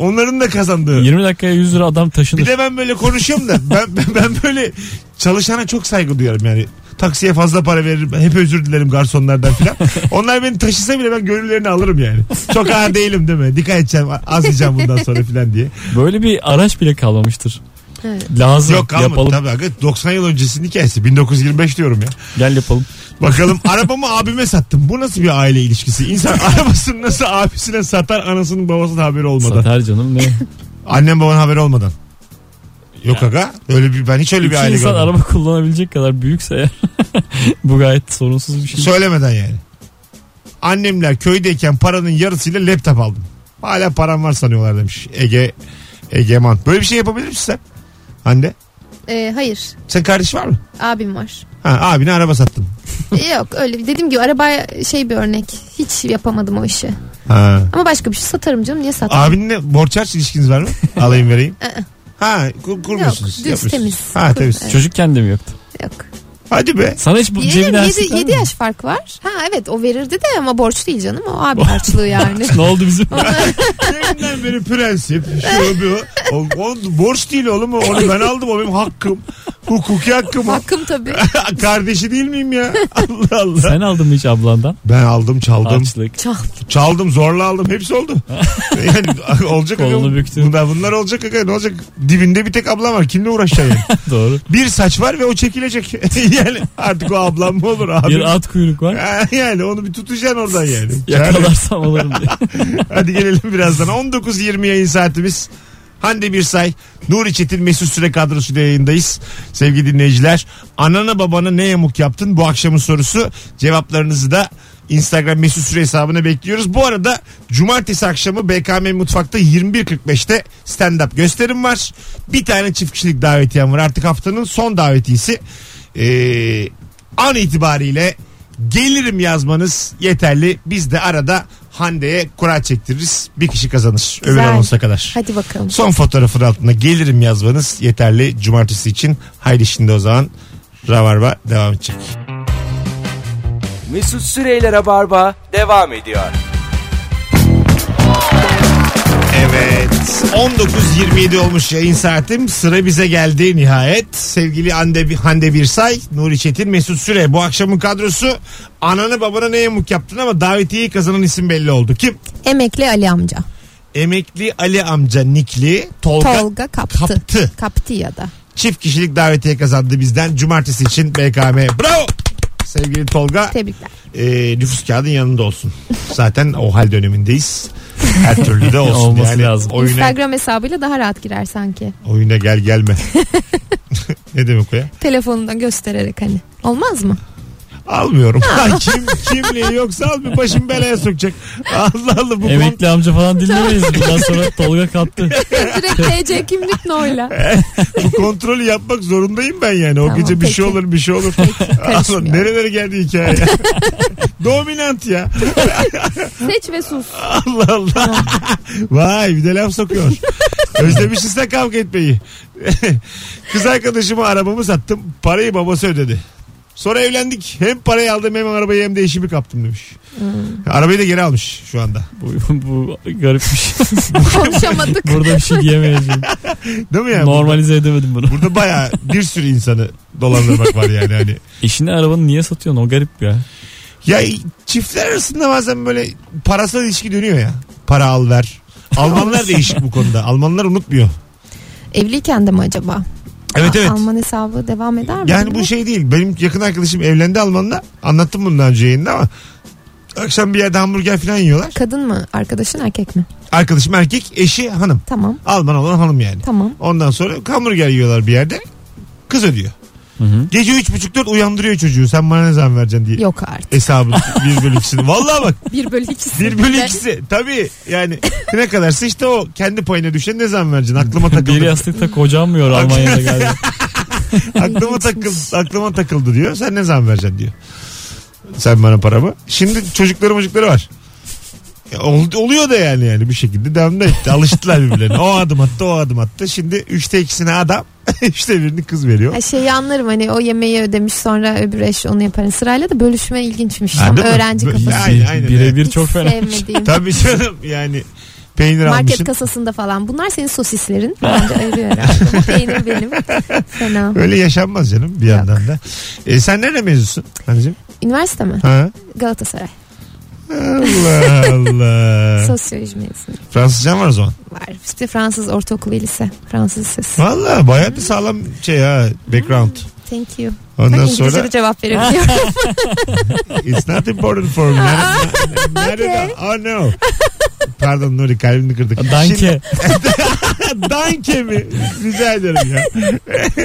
Speaker 2: Onların da kazandığı.
Speaker 4: 20 dakikaya 100 lira adam
Speaker 2: Bir
Speaker 4: taşınır.
Speaker 2: de ben böyle konuşuyorum da ben, ben, ben böyle çalışana çok saygı duyarım yani. Taksiye fazla para veririm. Hep özür dilerim garsonlardan filan. Onlar beni taşısa bile ben gönüllerini alırım yani. Çok ağır değilim değil mi? Dikkat edeceğim az yiyeceğim bundan sonra filan diye.
Speaker 4: Böyle bir araç bile kalmamıştır.
Speaker 3: Evet.
Speaker 4: Lazım
Speaker 2: Yok kalmadı
Speaker 4: yapalım.
Speaker 2: tabii. hakikaten 90 yıl öncesinin hikayesi. 1925 diyorum ya.
Speaker 4: Gel yapalım. [laughs]
Speaker 2: Bakalım arabamı abime sattım. Bu nasıl bir aile ilişkisi? İnsan arabasını nasıl abisine satar anasının babasının haberi olmadan.
Speaker 4: Satar
Speaker 2: [laughs]
Speaker 4: canım ne?
Speaker 2: Annem babanın haberi olmadan. Yok aga. Öyle bir, ben hiç öyle bir
Speaker 4: İki
Speaker 2: aile
Speaker 4: insan
Speaker 2: görmedim.
Speaker 4: araba kullanabilecek kadar büyükse eğer, [laughs] bu gayet sorunsuz bir şey.
Speaker 2: Söylemeden yani. Annemler köydeyken paranın yarısıyla laptop aldım. Hala param var sanıyorlar demiş. Ege Egeman. Böyle bir şey yapabilir misin sen? Hande.
Speaker 3: Ee, hayır.
Speaker 2: Sen kardeş var mı?
Speaker 3: Abim var.
Speaker 2: Ha, abine araba sattım.
Speaker 3: Yok öyle dediğim gibi arabaya şey bir örnek. Hiç yapamadım o işi.
Speaker 2: Ha.
Speaker 3: Ama başka bir şey satarım canım. Niye satayım?
Speaker 2: Abinle borç harç ilişkiniz var mı? Alayım vereyim.
Speaker 3: Hı hı.
Speaker 2: ha kur, kurmuyorsunuz.
Speaker 3: düz,
Speaker 2: yapıyorsunuz.
Speaker 3: temiz.
Speaker 2: Ha temiz.
Speaker 4: Çocukken de mi yoktu?
Speaker 3: Yok.
Speaker 2: Hadi be.
Speaker 4: Sana hiç bu
Speaker 3: Yeğenim
Speaker 4: cebinden
Speaker 3: 7,
Speaker 4: [laughs]
Speaker 3: yaş fark var. Ha evet o verirdi de ama borç değil canım. O abi
Speaker 2: [laughs]
Speaker 3: harçlığı yani.
Speaker 4: Ne oldu bizim?
Speaker 2: Deminden beri prensip. Şu bu. O, o borç değil oğlum. o. Onu ben aldım. O benim hakkım. Hukuki hakkım
Speaker 3: [laughs]
Speaker 2: o.
Speaker 3: Hakkım tabii.
Speaker 2: Kardeşi değil miyim ya? Allah Allah.
Speaker 4: Sen aldın mı hiç ablandan?
Speaker 2: Ben aldım çaldım.
Speaker 4: Harçlık. [laughs]
Speaker 3: Çal.
Speaker 2: Çaldım zorla aldım hepsi oldu. yani olacak aga.
Speaker 4: Kolunu büktün.
Speaker 2: Bunlar, bunlar olacak aga ne olacak? Dibinde bir tek ablam var kimle uğraşacaksın
Speaker 4: [laughs]
Speaker 2: yani?
Speaker 4: Doğru.
Speaker 2: bir saç var ve o çekilecek. [laughs] yani artık o ablam mı olur abi?
Speaker 4: Bir at kuyruk var.
Speaker 2: yani onu bir tutacaksın oradan yani. Yani
Speaker 4: Yakalarsam alırım diye.
Speaker 2: hadi gelelim birazdan. 19.20 yayın saatimiz. Hande Birsay, Nuri Çetin, Mesut Süre kadrosuyla yayındayız. Sevgili dinleyiciler, anana babana ne yamuk yaptın bu akşamın sorusu. Cevaplarınızı da Instagram Mesut Süre hesabına bekliyoruz. Bu arada cumartesi akşamı BKM Mutfak'ta 21.45'te stand-up gösterim var. Bir tane çift kişilik davetiyem var. Artık haftanın son davetiyesi. Ee, an itibariyle gelirim yazmanız yeterli. Biz de arada Hande'ye kura çektiririz. Bir kişi kazanır. Öbür
Speaker 3: Güzel.
Speaker 2: anonsa kadar.
Speaker 3: Hadi bakalım.
Speaker 2: Son fotoğrafın altında gelirim yazmanız yeterli cumartesi için. Haydi şimdi o zaman Ravarba devam edecek.
Speaker 1: Mesut Süreyler'e barba devam ediyor.
Speaker 2: Evet. 19.27 olmuş yayın saatim. Sıra bize geldi nihayet. Sevgili Hande, Hande Birsay, Nuri Çetin, Mesut Süre. Bu akşamın kadrosu ananı babana ne yamuk yaptın ama davetiyeyi kazanan isim belli oldu. Kim?
Speaker 3: Emekli Ali amca.
Speaker 2: Emekli Ali amca Nikli Tolga,
Speaker 3: Tolga kaptı.
Speaker 2: kaptı.
Speaker 3: Kaptı ya da.
Speaker 2: Çift kişilik davetiye kazandı bizden. Cumartesi için BKM. Bravo! Sevgili Tolga
Speaker 3: Tebrikler.
Speaker 2: e, nüfus kağıdın yanında olsun. Zaten o hal dönemindeyiz. Her türlü
Speaker 4: [laughs]
Speaker 2: de olsun.
Speaker 4: Olması lazım.
Speaker 2: Oyuna,
Speaker 3: Instagram hesabıyla daha rahat girer sanki.
Speaker 2: oyuna gel
Speaker 4: [laughs]
Speaker 2: gelme. ne demek o ya?
Speaker 3: Telefonundan göstererek hani.
Speaker 2: [laughs]
Speaker 3: Olmaz mı?
Speaker 2: Almıyorum. Lan [laughs] kim kimliği yoksa almıyor. Başım belaya sokacak. Allah Allah [laughs] bu kont-
Speaker 4: Emekli amca falan dinlemeyiz. Bundan
Speaker 3: [laughs]
Speaker 4: sonra Tolga kaptı.
Speaker 3: Direkt TC
Speaker 2: [laughs]
Speaker 3: kimlik noyla.
Speaker 2: bu kontrolü yapmak zorundayım ben yani. O
Speaker 3: Tamam,
Speaker 2: gece bir şey
Speaker 3: peki.
Speaker 2: olur bir şey olur. Allah
Speaker 3: Karışmıyor.
Speaker 2: nerelere geldi hikaye
Speaker 3: [laughs]
Speaker 2: ya? Dominant ya.
Speaker 3: Seç
Speaker 2: [laughs]
Speaker 3: ve sus.
Speaker 2: Allah Allah. [laughs] Vay bir de laf [laughs] sokuyor. Özlemişiz de kavga etmeyi. [laughs] Kız arkadaşıma arabamı sattım. Parayı babası ödedi. Sonra evlendik. Hem parayı aldım hem arabayı hem de işimi kaptım demiş. Arabayı da geri almış şu anda.
Speaker 4: Bu, [laughs] bu garip bir şey.
Speaker 3: Konuşamadık.
Speaker 4: [laughs] Burada bir şey [laughs] diyemeyeceğim.
Speaker 2: Değil mi yani?
Speaker 4: Normalize edemedim bunu.
Speaker 2: Burada bayağı bir sürü insanı dolandırmak var yani [laughs] hani.
Speaker 4: Eşine arabanı niye satıyorsun? O garip ya.
Speaker 2: Ya çiftler arasında bazen böyle parasal ilişki dönüyor ya. Para al ver. [laughs] Almanlar değişik bu konuda. Almanlar unutmuyor.
Speaker 3: Evliyken de mi acaba?
Speaker 2: Evet evet.
Speaker 3: Alman hesabı devam eder mi?
Speaker 2: Yani bu şey değil. Benim yakın arkadaşım evlendi Alman'la. Anlattım bunu daha önce yayında ama akşam bir yerde hamburger falan yiyorlar.
Speaker 3: Kadın mı? Arkadaşın erkek mi?
Speaker 2: Arkadaşım erkek, eşi hanım.
Speaker 3: Tamam.
Speaker 2: Alman olan hanım yani.
Speaker 3: Tamam.
Speaker 2: Ondan sonra hamburger yiyorlar bir yerde. Kız ödüyor.
Speaker 4: Hı hı.
Speaker 2: Gece üç buçuk dört uyandırıyor çocuğu. Sen bana ne zaman vereceksin diye.
Speaker 3: Yok artık.
Speaker 2: Hesabı bir bölü ikisini. Vallahi bak
Speaker 3: 1 bölü 2'si.
Speaker 2: bir bölü ikisi. Tabii yani ne kadarsa işte o kendi payına düşen ne zaman vereceksin.
Speaker 4: [laughs]
Speaker 2: Aklıma
Speaker 4: Bir
Speaker 2: takıldı.
Speaker 4: yastıkta kocanmıyor [laughs] Almanya'da galiba.
Speaker 2: aklıma takıldı, aklıma takıldı diyor. Sen ne zaman vereceksin diyor. Sen bana paramı. Şimdi çocukları çocukları var. Ya ol- oluyor da yani yani bir şekilde devam da etti. Alıştılar birbirlerine. O adım attı o adım attı. Şimdi üçte ikisine adam [laughs] üçte birini kız veriyor.
Speaker 3: Her şeyi anlarım hani o yemeği ödemiş sonra öbür eş onu yapar. Hani Sırayla da bölüşme ilginçmiş.
Speaker 2: Ha,
Speaker 3: Tam
Speaker 2: değil mi?
Speaker 3: öğrenci
Speaker 2: Bö-
Speaker 3: kafası.
Speaker 2: Ya, Aynen, aynen.
Speaker 4: Birebir
Speaker 3: Hiç
Speaker 4: çok fena.
Speaker 3: sevmediğim.
Speaker 2: [laughs] şey. Tabii canım yani peynir
Speaker 3: Market
Speaker 2: almışsın.
Speaker 3: kasasında falan. Bunlar senin sosislerin. Bence ayırıyor herhalde. Bu peynir benim. Fena.
Speaker 2: Öyle yaşanmaz canım bir yandan da. E, sen nerede mezunsun? Anneciğim?
Speaker 3: Üniversite mi?
Speaker 2: Ha?
Speaker 3: Galatasaray.
Speaker 2: Allah
Speaker 3: [laughs]
Speaker 2: Allah.
Speaker 3: Sosyoloji mezunu.
Speaker 2: Fransızcan var o zaman.
Speaker 3: Var. İşte Fransız ortaokulu ve lise. Fransız lisesi.
Speaker 2: Valla bayağı bir sağlam şey ha background.
Speaker 3: Thank you. Bak
Speaker 2: Ondan
Speaker 3: İngilizce
Speaker 2: sonra
Speaker 3: de
Speaker 2: [laughs]
Speaker 3: cevap verebiliyor.
Speaker 2: It's not important for me. Nerede- Nerede? Oh no. Pardon Nuri kalbini kırdık.
Speaker 4: [laughs] [laughs] Danke.
Speaker 2: Şimdi- danke mi? Rica ederim
Speaker 3: [laughs]
Speaker 2: ya.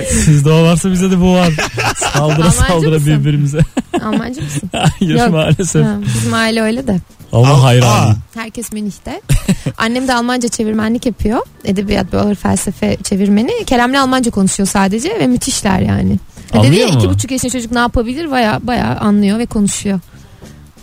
Speaker 4: Sizde o varsa bizde de bu var. Saldıra
Speaker 3: Almancı
Speaker 4: saldıra
Speaker 3: mısın?
Speaker 4: birbirimize.
Speaker 3: Almancı mısın?
Speaker 4: Hayır
Speaker 3: Yok.
Speaker 4: maalesef.
Speaker 3: Ha, Bizim aile öyle de.
Speaker 4: Ama
Speaker 2: Al-
Speaker 4: hayranım.
Speaker 3: Herkes Münih'te. [laughs] Annem de Almanca çevirmenlik yapıyor. Edebiyat ve ağır felsefe çevirmeni. Kerem'le Almanca konuşuyor sadece ve müthişler yani. Ha, Dedi ya
Speaker 4: Anlıyor
Speaker 3: iki
Speaker 4: mu?
Speaker 3: buçuk yaşında çocuk ne yapabilir? Baya baya anlıyor ve konuşuyor.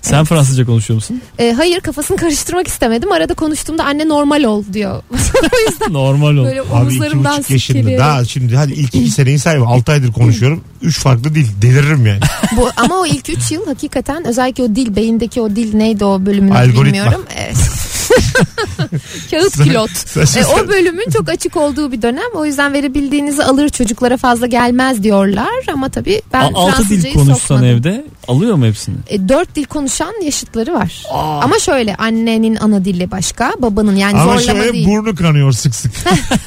Speaker 4: Sen Fransızca konuşuyor musun?
Speaker 3: E, hayır kafasını [laughs] karıştırmak istemedim. Arada konuştuğumda anne normal ol diyor. [laughs]
Speaker 4: Normal ol.
Speaker 3: Böyle
Speaker 2: Abi iki
Speaker 3: omuzlarımdan
Speaker 2: buçuk yaşında.
Speaker 3: silkeliyor.
Speaker 2: Daha şimdi hadi ilk iki seneyi sayma. Altı aydır konuşuyorum. Üç farklı dil. Deliririm
Speaker 3: [laughs]
Speaker 2: yani.
Speaker 3: Bu, ama o ilk 3 yıl hakikaten özellikle o dil beyindeki o dil neydi o bölümünü
Speaker 2: Algoritma.
Speaker 3: bilmiyorum. Evet. [laughs] Kağıt pilot.
Speaker 2: Saçma
Speaker 3: E,
Speaker 2: sapan.
Speaker 3: o bölümün çok açık olduğu bir dönem. O yüzden verebildiğinizi alır çocuklara fazla gelmez diyorlar. Ama tabii ben
Speaker 4: A- Altı dil
Speaker 3: Fransızcayı
Speaker 4: konuşsan
Speaker 3: sokmadım.
Speaker 4: evde alıyor mu hepsini?
Speaker 3: E, dört dil konuşan yaşıtları var. Ama şöyle annenin ana dili başka babanın yani
Speaker 2: Ama
Speaker 3: zorlama
Speaker 2: şöyle
Speaker 3: değil.
Speaker 2: burnu kanıyor sık sık.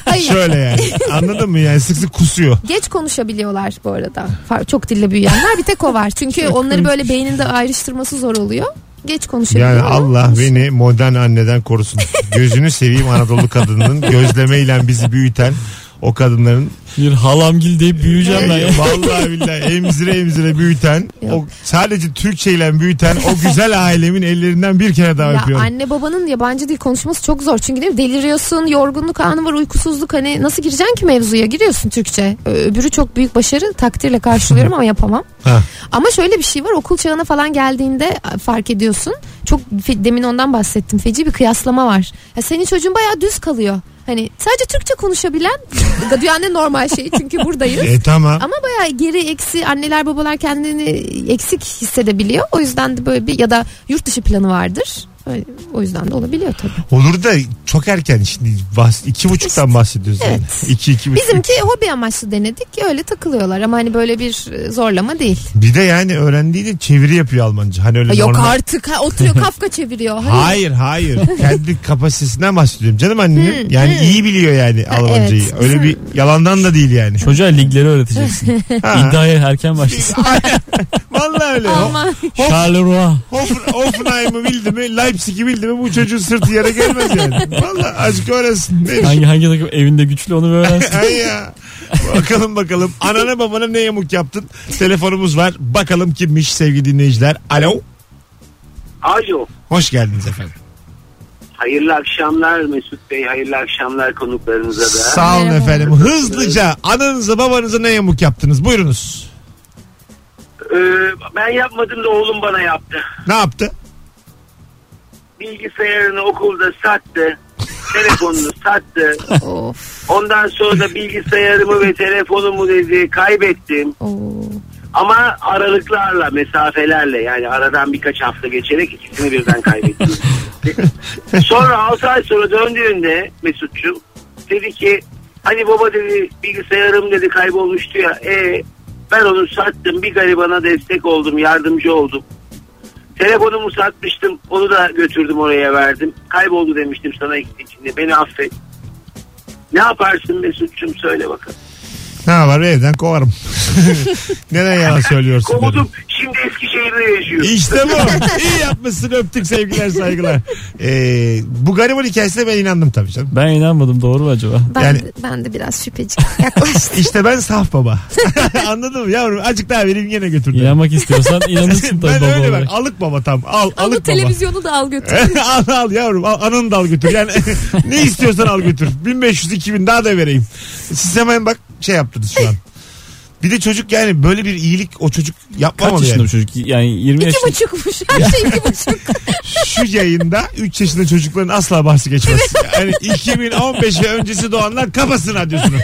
Speaker 3: Hayır.
Speaker 2: şöyle yani. Anladın mı yani sık sık kusuyor.
Speaker 3: Geç konuşabiliyorlar bu arada. Far- Çok dille büyüyenler bir
Speaker 2: [laughs]
Speaker 3: tek o var. Çünkü onları böyle beyninde ayrıştırması zor oluyor. Geç konuşabiliyor.
Speaker 2: Yani
Speaker 3: ama
Speaker 2: Allah
Speaker 3: konuş-
Speaker 2: beni modern anneden korusun. Gözünü seveyim Anadolu kadının gözlemeyle bizi büyüten o kadınların
Speaker 4: Bir halamgil deyip büyüyeceğim ben ya.
Speaker 2: Vallahi billahi emzire emzire büyüten, o
Speaker 3: Yok.
Speaker 2: sadece Türkçeyle büyüten o güzel ailemin ellerinden bir kere daha
Speaker 3: Ya
Speaker 2: öpüyorum.
Speaker 3: anne babanın yabancı dil konuşması çok zor. Çünkü değil mi? deliriyorsun, yorgunluk anı var, uykusuzluk hani nasıl gireceksin ki mevzuya? Giriyorsun Türkçe. Ö- Öbürü çok büyük başarı takdirle karşılıyorum ama yapamam.
Speaker 2: Ha.
Speaker 3: Ama şöyle bir şey var okul çağına falan geldiğinde a, fark ediyorsun. Çok fe- demin ondan bahsettim. Feci bir kıyaslama var. Ya senin çocuğun bayağı düz kalıyor. Hani sadece Türkçe konuşabilen [laughs] dünyanın en normal şeyi çünkü
Speaker 2: [laughs]
Speaker 3: buradayız.
Speaker 2: E tamam.
Speaker 3: Ama bayağı geri eksi anneler e, babalar kendini eksik hissedebiliyor. O yüzden de böyle bir ya da yurt dışı planı vardır. Öyle, o yüzden de olabiliyor tabii.
Speaker 2: Olur da çok erken şimdi bahs- iki buçuktan bahsediyoruz. yani.
Speaker 3: Evet.
Speaker 2: İki, iki buçuk.
Speaker 3: Bizimki hobi amaçlı denedik öyle takılıyorlar ama hani böyle bir e, zorlama değil.
Speaker 2: Bir de yani öğrendiğiyle çeviri yapıyor Almanca. Hani öyle
Speaker 3: Ha, Yok
Speaker 2: normal-
Speaker 3: artık ha, oturuyor kafka çeviriyor. Hayır.
Speaker 2: Hayır hayır.
Speaker 3: [laughs]
Speaker 2: Kendi kapasitesinden bahsediyorum canım annem. yani iyi biliyor yani
Speaker 3: Ha,
Speaker 2: Almancayı.
Speaker 3: evet.
Speaker 2: Öyle bir yalandan da değil
Speaker 3: [laughs]
Speaker 2: yani.
Speaker 4: Çocuğa ligleri öğreteceksin.
Speaker 2: [laughs] Ha.
Speaker 4: İddiaya
Speaker 2: [laughs]
Speaker 4: erken başlasın.
Speaker 2: Aynen. Vallahi öyle.
Speaker 3: Ama
Speaker 4: Charleroi.
Speaker 2: Hoff- Hoffenheim'ı bildi mi, Leipzig'i bildi mi bu çocuğun sırtı yere gelmez yani. Vallahi azıcık öğrensin. Ne
Speaker 4: Hangi hangi takım evinde güçlü onu bir öğrensin.
Speaker 2: Ay ya. Bakalım bakalım. Anana babana ne yamuk yaptın? Telefonumuz var. Bakalım kimmiş sevgili dinleyiciler. Alo.
Speaker 5: Alo.
Speaker 2: Hoş geldiniz efendim.
Speaker 5: Hayırlı akşamlar Mesut Bey. Hayırlı akşamlar konuklarınıza da.
Speaker 2: Sağ olun
Speaker 3: Merhaba.
Speaker 2: efendim. Hızlıca ananıza babanıza ne yamuk yaptınız? Buyurunuz.
Speaker 5: Ee, ben yapmadım da oğlum bana yaptı.
Speaker 2: Ne yaptı?
Speaker 5: Bilgisayarını okulda sattı. Telefonunu sattı.
Speaker 3: [laughs] of,
Speaker 5: Ondan sonra da bilgisayarımı ve telefonumu dedi kaybettim.
Speaker 3: of.
Speaker 5: Ama aralıklarla, mesafelerle yani aradan birkaç hafta geçerek ikisini birden
Speaker 2: [laughs]
Speaker 5: kaybettim. sonra 6 ay sonra döndüğünde Mesut'cum dedi ki hani baba dedi bilgisayarım dedi kaybolmuştu ya. E, ben onu sattım bir garibana destek oldum yardımcı oldum. Telefonumu satmıştım onu da götürdüm oraya verdim. Kayboldu demiştim sana iki içinde beni affet. Ne yaparsın Mesut'cum söyle bakalım.
Speaker 2: Ne var evden kovarım. [laughs] Neden yalan söylüyorsun? dedim.
Speaker 5: Kovdum şimdi Eskişehir'de yaşıyorum.
Speaker 2: İşte bu. İyi yapmışsın öptük sevgiler saygılar. Ee, bu gariban hikayesine ben inandım tabii canım.
Speaker 4: Ben inanmadım doğru mu acaba?
Speaker 3: Ben,
Speaker 2: Yani-
Speaker 3: de, ben de biraz şüpheci yaklaştım.
Speaker 2: İşte ben saf baba. [laughs] Anladın mı yavrum? Azıcık daha vereyim gene götürdüm. [laughs]
Speaker 4: İnanmak istiyorsan inanırsın tabii
Speaker 2: ben
Speaker 4: baba
Speaker 2: öyle ben.
Speaker 4: olarak.
Speaker 2: Alık baba tam. [laughs] Al,
Speaker 3: Ama
Speaker 2: alık baba.
Speaker 3: televizyonu da al götür.
Speaker 2: [laughs] al al yavrum al, ananı da al götür. Yani [laughs] ne istiyorsan al götür. 1500 2000 daha da vereyim. Siz hemen bak şey yaptınız şu an. Bir de çocuk yani böyle bir iyilik o çocuk
Speaker 4: Kaç
Speaker 2: yapmamalı
Speaker 4: yaşında
Speaker 2: yani.
Speaker 4: bu çocuk? Yani 20
Speaker 3: İki
Speaker 2: [laughs]
Speaker 4: yaşında.
Speaker 3: buçukmuş. Her şey iki buçuk.
Speaker 2: Şu yayında 3 yaşında çocukların asla bahsi geçmez. Yani 2015 ve öncesi doğanlar kapasın radyosunu.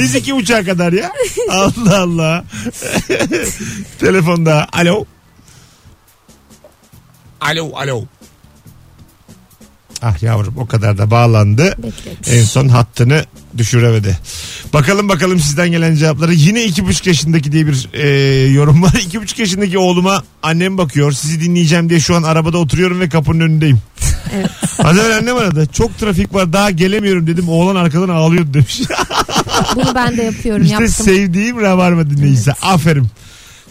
Speaker 2: Biz iki uçağa kadar ya. Allah Allah. [laughs] Telefonda alo. Alo alo. Ah yavrum o kadar da bağlandı.
Speaker 3: Beklemiş.
Speaker 2: En son hattını düşüremedi. Bakalım bakalım sizden gelen cevapları. Yine iki buçuk yaşındaki diye bir e, yorum var. [laughs] İki buçuk yaşındaki oğluma annem bakıyor. Sizi dinleyeceğim diye şu an arabada oturuyorum ve kapının önündeyim. [laughs]
Speaker 3: Evet.
Speaker 2: Az evvel annem aradı. Çok trafik var daha gelemiyorum dedim. Oğlan arkadan ağlıyordu demiş. [laughs]
Speaker 3: Bunu ben de yapıyorum
Speaker 2: işte
Speaker 3: yaptım.
Speaker 2: sevdiğim rabarba dinleyicisi. Aferin.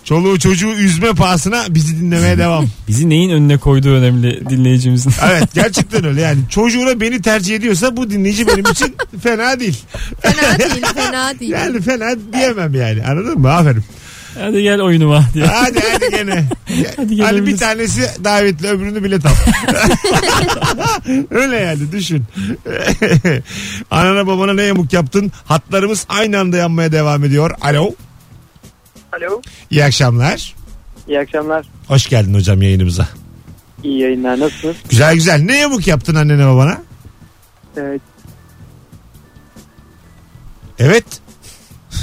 Speaker 2: Çoluğu çocuğu üzme pahasına bizi dinlemeye
Speaker 3: [laughs]
Speaker 2: devam.
Speaker 4: Bizi neyin önüne koyduğu önemli dinleyicimizin.
Speaker 2: Evet gerçekten öyle yani. Çocuğuna beni tercih ediyorsa bu dinleyici benim
Speaker 3: [laughs]
Speaker 2: için fena değil.
Speaker 3: Fena değil fena değil.
Speaker 2: Yani fena diyemem yani anladın mı? Aferin.
Speaker 4: [laughs] Hadi gel oyunuma diye.
Speaker 2: Hadi hadi gene.
Speaker 4: Hadi gene
Speaker 2: hani bir
Speaker 4: bilirsin.
Speaker 2: tanesi davetli öbürünü bilet al. [laughs] Öyle yani düşün. [laughs] Anana babana ne yamuk yaptın? Hatlarımız aynı anda yanmaya devam ediyor. Alo.
Speaker 6: Alo.
Speaker 2: İyi akşamlar.
Speaker 6: İyi akşamlar.
Speaker 2: Hoş geldin hocam yayınımıza.
Speaker 6: İyi yayınlar. Nasılsınız?
Speaker 2: Güzel güzel. Ne yamuk yaptın annene babana?
Speaker 6: Ee,
Speaker 2: Evet.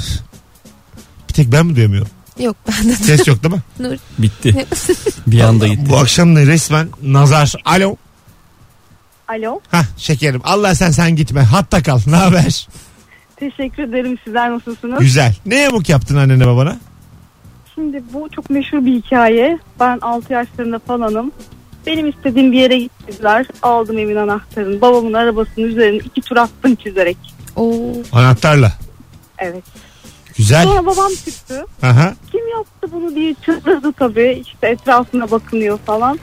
Speaker 2: [laughs] Bir tek ben mi duyamıyorum?
Speaker 3: Yok ben de
Speaker 2: Ses yok değil mi?
Speaker 3: Nur.
Speaker 2: [laughs]
Speaker 4: Bitti. Bir anda gitti.
Speaker 2: Bu akşam da resmen nazar. Alo.
Speaker 7: Alo.
Speaker 2: Hah şekerim. Allah sen sen gitme. Hatta kal. Ne haber?
Speaker 7: Teşekkür ederim. Sizler nasılsınız?
Speaker 2: Güzel. Ne yamuk yaptın annene babana?
Speaker 7: Şimdi bu çok meşhur bir hikaye. Ben 6 yaşlarında falanım. Benim istediğim bir yere gittiler. Aldım evin anahtarını. Babamın arabasının üzerine iki tur attım çizerek.
Speaker 3: Oo.
Speaker 2: Anahtarla.
Speaker 7: Evet.
Speaker 2: Güzel.
Speaker 7: Sonra babam çıktı.
Speaker 2: Aha.
Speaker 7: Kim yaptı bunu diye çıldırdı tabii. İşte etrafına bakınıyor falan.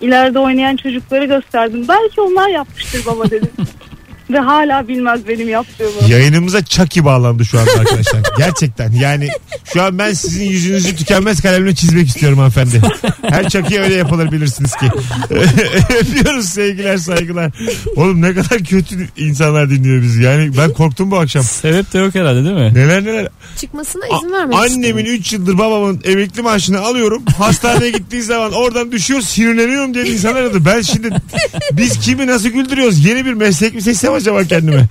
Speaker 7: İleride oynayan çocukları gösterdim. Belki onlar yapmıştır baba dedim. Ve hala bilmez benim yaptığımı.
Speaker 2: Yayınımıza Chucky bağlandı şu anda arkadaşlar. Gerçekten yani şu an ben sizin yüzünüzü tükenmez kalemle çizmek istiyorum hanımefendi. Her Chucky öyle yapılır bilirsiniz ki. [laughs] Öpüyoruz sevgiler saygılar. Oğlum ne kadar kötü insanlar dinliyor bizi. Yani ben korktum bu akşam.
Speaker 4: Sebep de yok herhalde değil mi?
Speaker 2: Neler neler.
Speaker 3: Çıkmasına
Speaker 2: A-
Speaker 3: izin vermemiştim.
Speaker 2: annemin 3 yıldır babamın emekli maaşını alıyorum. Hastaneye gittiği zaman oradan düşüyor sinirleniyorum diye insanlar aradı. Ben şimdi biz kimi nasıl güldürüyoruz? Yeni bir meslek mi seçsem acaba [laughs] kendime?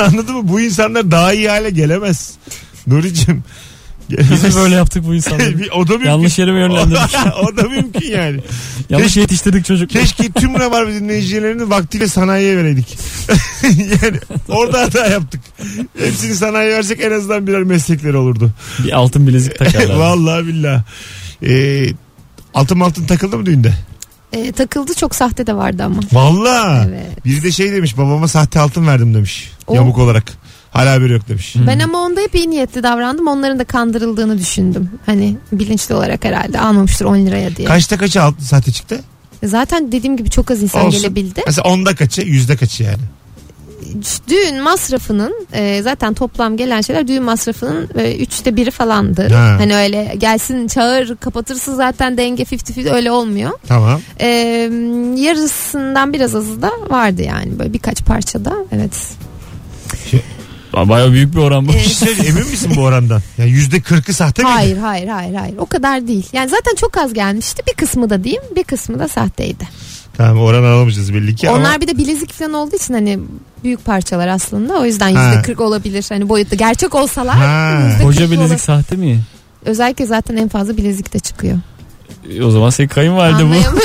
Speaker 2: Anladın mı? Bu insanlar daha iyi hale gelemez. Nuri'cim
Speaker 4: Biz mi
Speaker 2: [laughs]
Speaker 4: böyle yaptık bu insanları?
Speaker 2: Bir- o da mümkün.
Speaker 4: Yanlış yere mi yönlendirdik?
Speaker 2: [laughs] o da mümkün yani.
Speaker 4: Yanlış yetiştirdik çocukları.
Speaker 2: Keşke tüm Rabarba dinleyicilerini vaktiyle sanayiye vereydik. [laughs] yani orada hata yaptık. Hepsini sanayiye versek en azından birer meslekleri olurdu.
Speaker 4: Bir altın bilezik
Speaker 2: [laughs]
Speaker 4: takarlar.
Speaker 2: Vallahi billah. Ee, altın altın takıldı mı düğünde?
Speaker 3: Ee, takıldı çok sahte de vardı ama.
Speaker 2: Vallahi.
Speaker 3: Evet.
Speaker 2: Biri de şey demiş babama sahte altın verdim demiş.
Speaker 3: Oo.
Speaker 2: Yamuk olarak. Hala haberi yok demiş.
Speaker 3: Ben ama onda hep iyi niyetli davrandım. Onların da kandırıldığını düşündüm. Hani bilinçli olarak herhalde almamıştır 10 liraya diye.
Speaker 2: Kaçta kaça altın sahte çıktı?
Speaker 3: Zaten dediğim gibi çok az insan
Speaker 2: Olsun.
Speaker 3: gelebildi.
Speaker 2: Mesela onda kaçı yüzde kaçı yani.
Speaker 3: Düğün masrafının e, zaten toplam gelen şeyler düğün masrafının e, üçte biri falandı.
Speaker 2: Ha.
Speaker 3: Hani öyle gelsin çağır kapatırsın zaten denge 50-50 öyle olmuyor.
Speaker 2: Tamam.
Speaker 3: E, yarısından biraz azı da vardı yani böyle birkaç parçada evet.
Speaker 4: Baya büyük bir
Speaker 3: Ee,
Speaker 4: oran bu.
Speaker 2: Bir şey söyleyeyim, emin misin bu orandan? Yani yüzde kırkı sahte miydi?
Speaker 3: Hayır hayır hayır hayır o kadar değil. Yani zaten çok az gelmişti bir kısmı da diyeyim bir kısmı da sahteydi.
Speaker 2: Tamam oran alamayacağız belli ki
Speaker 3: Onlar
Speaker 2: ama
Speaker 3: bir de bilezik falan olduğu için hani büyük parçalar aslında. O yüzden
Speaker 2: Ha.
Speaker 3: yüzde kırk olabilir. Hani boyutta gerçek olsalar
Speaker 2: Ha.
Speaker 3: yüzde
Speaker 4: Koca
Speaker 3: kırk
Speaker 4: bilezik
Speaker 3: olabilir.
Speaker 4: sahte mi?
Speaker 3: Özellikle zaten en fazla bilezik de çıkıyor.
Speaker 4: E, O zaman senin kayınvalide bu.
Speaker 3: Anlayamıyorum.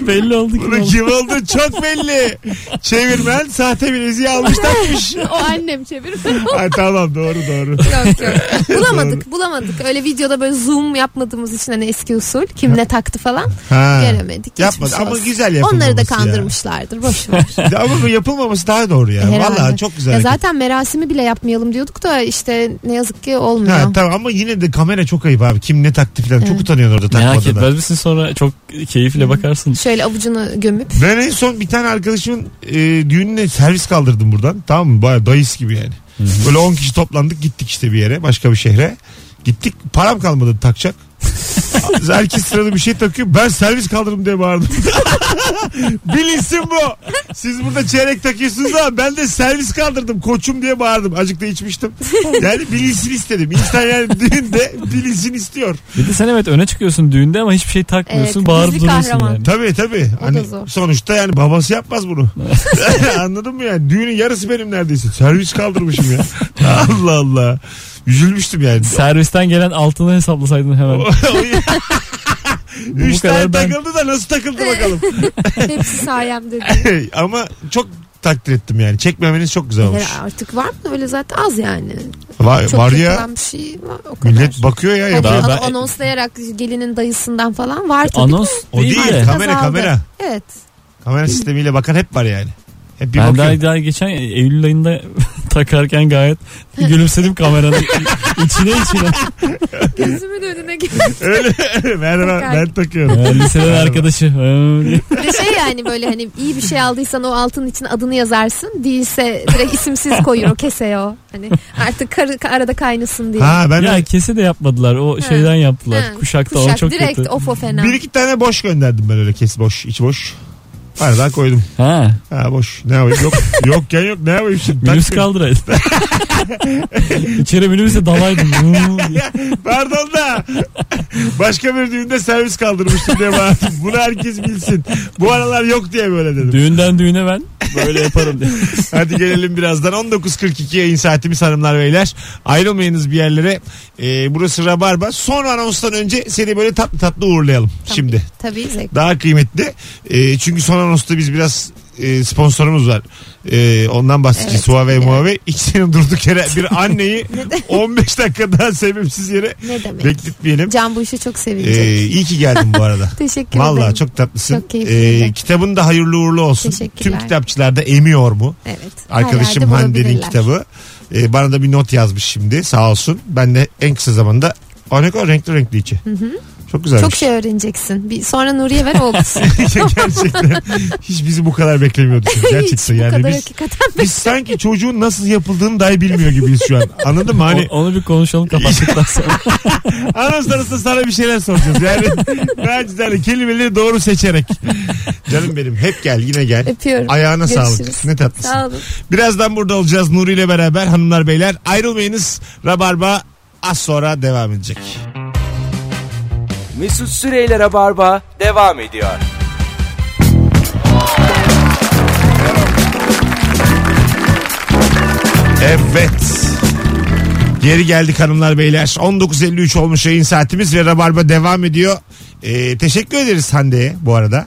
Speaker 4: Belli oldu ki.
Speaker 2: [laughs] bunun kim olduğu çok belli. Çevirmen sahte bileziği almış
Speaker 3: [laughs]
Speaker 2: takmış.
Speaker 3: o annem çevir.
Speaker 2: Ay, tamam doğru [laughs] doğru.
Speaker 3: yok yok. Bulamadık bulamadık. Öyle videoda böyle zoom yapmadığımız için hani eski usul. Kim ne taktı falan
Speaker 2: Ha.
Speaker 3: göremedik. Geçmiş
Speaker 2: Yapmadı ama
Speaker 3: olsun.
Speaker 2: güzel yapılmaması
Speaker 3: Onları da
Speaker 2: ya.
Speaker 3: kandırmışlardır. Boş ver.
Speaker 2: Ama bu yapılmaması daha doğru ya.
Speaker 3: Herhalde.
Speaker 2: Vallahi çok güzel.
Speaker 3: Ya
Speaker 2: hareket.
Speaker 3: zaten merasimi bile yapmayalım diyorduk da işte ne yazık ki olmuyor.
Speaker 2: Ha, tamam ama yine de kamera çok ayıp abi. Kim ne taktı falan. Çok
Speaker 3: Evet.
Speaker 2: utanıyorsun orada
Speaker 4: Merak
Speaker 2: takmadığına.
Speaker 4: etmez misin sonra çok keyifle bakarsın.
Speaker 3: Şöyle avucunu
Speaker 2: [laughs]
Speaker 3: gömüp.
Speaker 2: Ben en son bir tane arkadaşımın e, düğününe servis kaldırdım buradan. Tamam mı? Baya dayıs gibi yani. Böyle 10 kişi toplandık gittik işte bir yere başka bir şehre. Gittik param kalmadı takacak. Herkes sıralı bir şey takıyor. Ben servis kaldırdım diye bağırdım. [laughs] Bilinsin bu. Siz burada çeyrek takıyorsunuz ama ben de servis kaldırdım koçum diye bağırdım. Azıcık da içmiştim. Yani bilinsin istedim. İnsan yani düğünde bilinsin istiyor.
Speaker 4: Bir de sen evet öne çıkıyorsun düğünde ama hiçbir şey takmıyorsun.
Speaker 3: Evet,
Speaker 4: bağırıp
Speaker 3: gizli
Speaker 4: duruyorsun
Speaker 3: kahraman.
Speaker 4: yani.
Speaker 2: Tabii tabii.
Speaker 3: O da
Speaker 2: Hani
Speaker 3: zor.
Speaker 2: sonuçta yani babası yapmaz bunu. [laughs] Anladın mı yani? Düğünün yarısı benim neredeyse. Servis kaldırmışım ya. [laughs] Allah Allah. Üzülmüştüm yani.
Speaker 4: Servisten gelen altını hesaplasaydın hemen.
Speaker 2: Üç
Speaker 4: Bu kadar
Speaker 2: tane
Speaker 4: ben-
Speaker 2: takıldı da nasıl takıldı bakalım.
Speaker 3: Hepsi sayemde diye.
Speaker 2: Ama çok takdir ettim yani. Çekmemeniz çok güzel olmuş.
Speaker 3: Ya artık var mı öyle zaten az yani.
Speaker 2: Var,
Speaker 3: Çok
Speaker 2: var ya.
Speaker 3: yapılan bir şey var o kadar.
Speaker 2: Millet bakıyor ya.
Speaker 3: Hatta
Speaker 2: yapıyor.
Speaker 4: Daha
Speaker 3: an-
Speaker 4: ben-
Speaker 3: anonslayarak gelinin dayısından falan var tabii.
Speaker 4: Anons
Speaker 2: O
Speaker 4: değil,
Speaker 2: değil.
Speaker 4: de.
Speaker 2: Kamera,
Speaker 3: Azaldı.
Speaker 2: kamera. [laughs]
Speaker 3: Evet.
Speaker 2: Kamera sistemiyle bakan hep var yani. Hep bir
Speaker 4: ben
Speaker 2: bakıyor.
Speaker 4: daha, daha geçen Eylül ayında [laughs] takarken gayet
Speaker 3: [laughs]
Speaker 4: gülümsedim kameranın içine içine.
Speaker 3: Gözümün önüne gel.
Speaker 2: Öyle. Merhaba [laughs]
Speaker 3: Takar.
Speaker 2: ben takıyorum.
Speaker 4: Ee, Liseden arkadaşı. Ee, diye.
Speaker 3: Bir de şey yani böyle hani iyi bir şey aldıysan o altın için adını yazarsın. Değilse direkt isimsiz koyuyor o keseye o. Hani artık karı, arada kaynasın diye.
Speaker 2: Ha ben
Speaker 4: ya kese de yapmadılar. O
Speaker 3: Ha.
Speaker 4: şeyden yaptılar.
Speaker 3: Ha,
Speaker 4: Kuşakta o
Speaker 3: kuşak,
Speaker 4: çok
Speaker 3: direkt
Speaker 4: kötü.
Speaker 3: of o fena.
Speaker 2: bir iki tane boş gönderdim ben öyle kes boş iç boş. Aradan koydum.
Speaker 4: Ha,
Speaker 2: Ha boş. Ne yapayım? Yok. Yokken yok. Ne yapayım şimdi?
Speaker 4: minibüs
Speaker 2: Tak-
Speaker 4: kaldıraydın. İçeri minibüse dalaydım.
Speaker 2: Pardon da. Başka bir düğünde servis kaldırmıştım diye bağırdım. Bunu herkes bilsin. Bu aralar yok diye böyle dedim.
Speaker 4: Düğünden düğüne ben böyle yaparım [laughs] diye.
Speaker 2: Hadi gelelim birazdan. 19.42 yayın saatimiz hanımlar beyler. Ayrılmayınız bir yerlere. Ee, burası Rabarba. Son anonstan önce seni böyle tatlı tatlı uğurlayalım.
Speaker 3: Tabii,
Speaker 2: Şimdi.
Speaker 3: Tabii zevk.
Speaker 2: Daha kıymetli. Ee, çünkü son anonsta biz biraz e, sponsorumuz var. Ee, ondan bahsedeceğiz.
Speaker 3: Evet.
Speaker 2: Huawei, Huawei. İkisinin durduk yere
Speaker 3: [laughs]
Speaker 2: bir anneyi 15 dakika daha sebepsiz yere
Speaker 3: Ne demek.
Speaker 2: bekletmeyelim.
Speaker 3: Can bu işe çok sevinecek.
Speaker 2: Ee, iyi ki geldin bu arada.
Speaker 3: [laughs] Teşekkür
Speaker 2: Vallahi
Speaker 3: ederim.
Speaker 2: çok tatlısın. E,
Speaker 3: Çok keyifliydi.
Speaker 2: kitabın da hayırlı uğurlu olsun.
Speaker 3: Teşekkürler.
Speaker 2: Tüm kitapçılarda emiyor mu?
Speaker 3: Evet. Her
Speaker 2: Arkadaşım
Speaker 3: yerde
Speaker 2: Hande'nin
Speaker 3: bulabilirler.
Speaker 2: kitabı. Ee, bana da bir not yazmış şimdi sağ olsun. Ben de en kısa zamanda Aa, ne kadar renkli renkli içi. Çok güzelmiş.
Speaker 3: Çok şey öğreneceksin. Bir sonra Nuriye ver o
Speaker 2: [laughs]
Speaker 3: okusun.
Speaker 2: gerçekten hiç bizi bu kadar beklemiyorduk. Gerçekten
Speaker 3: [laughs] Hiç bu
Speaker 2: yani
Speaker 3: kadar
Speaker 2: biz,
Speaker 3: hakikaten
Speaker 2: biz sanki çocuğun nasıl yapıldığını dahi bilmiyor gibiyiz şu an. Anladın mı?
Speaker 3: [laughs]
Speaker 2: Hani
Speaker 4: O- onu bir konuşalım [laughs] kapattıktan sonra.
Speaker 2: Anons arasında sana bir şeyler soracağız. Yani [laughs] naçizane kelimeleri doğru seçerek. Canım benim hep gel yine gel.
Speaker 3: öpüyorum.
Speaker 2: Ayağına
Speaker 3: Görüşürüz.
Speaker 2: sağlık. Ne tatlısın.
Speaker 3: Sağ olun.
Speaker 2: Birazdan burada olacağız Nuri ile beraber hanımlar beyler. Ayrılmayınız. Rabarba az sonra devam edecek.
Speaker 1: Mesut Süreyler'e barba devam ediyor.
Speaker 2: Evet. Geri geldik hanımlar beyler. 19.53 olmuş yayın saatimiz ve Rabarba devam ediyor. Ee, teşekkür ederiz Hande'ye bu arada.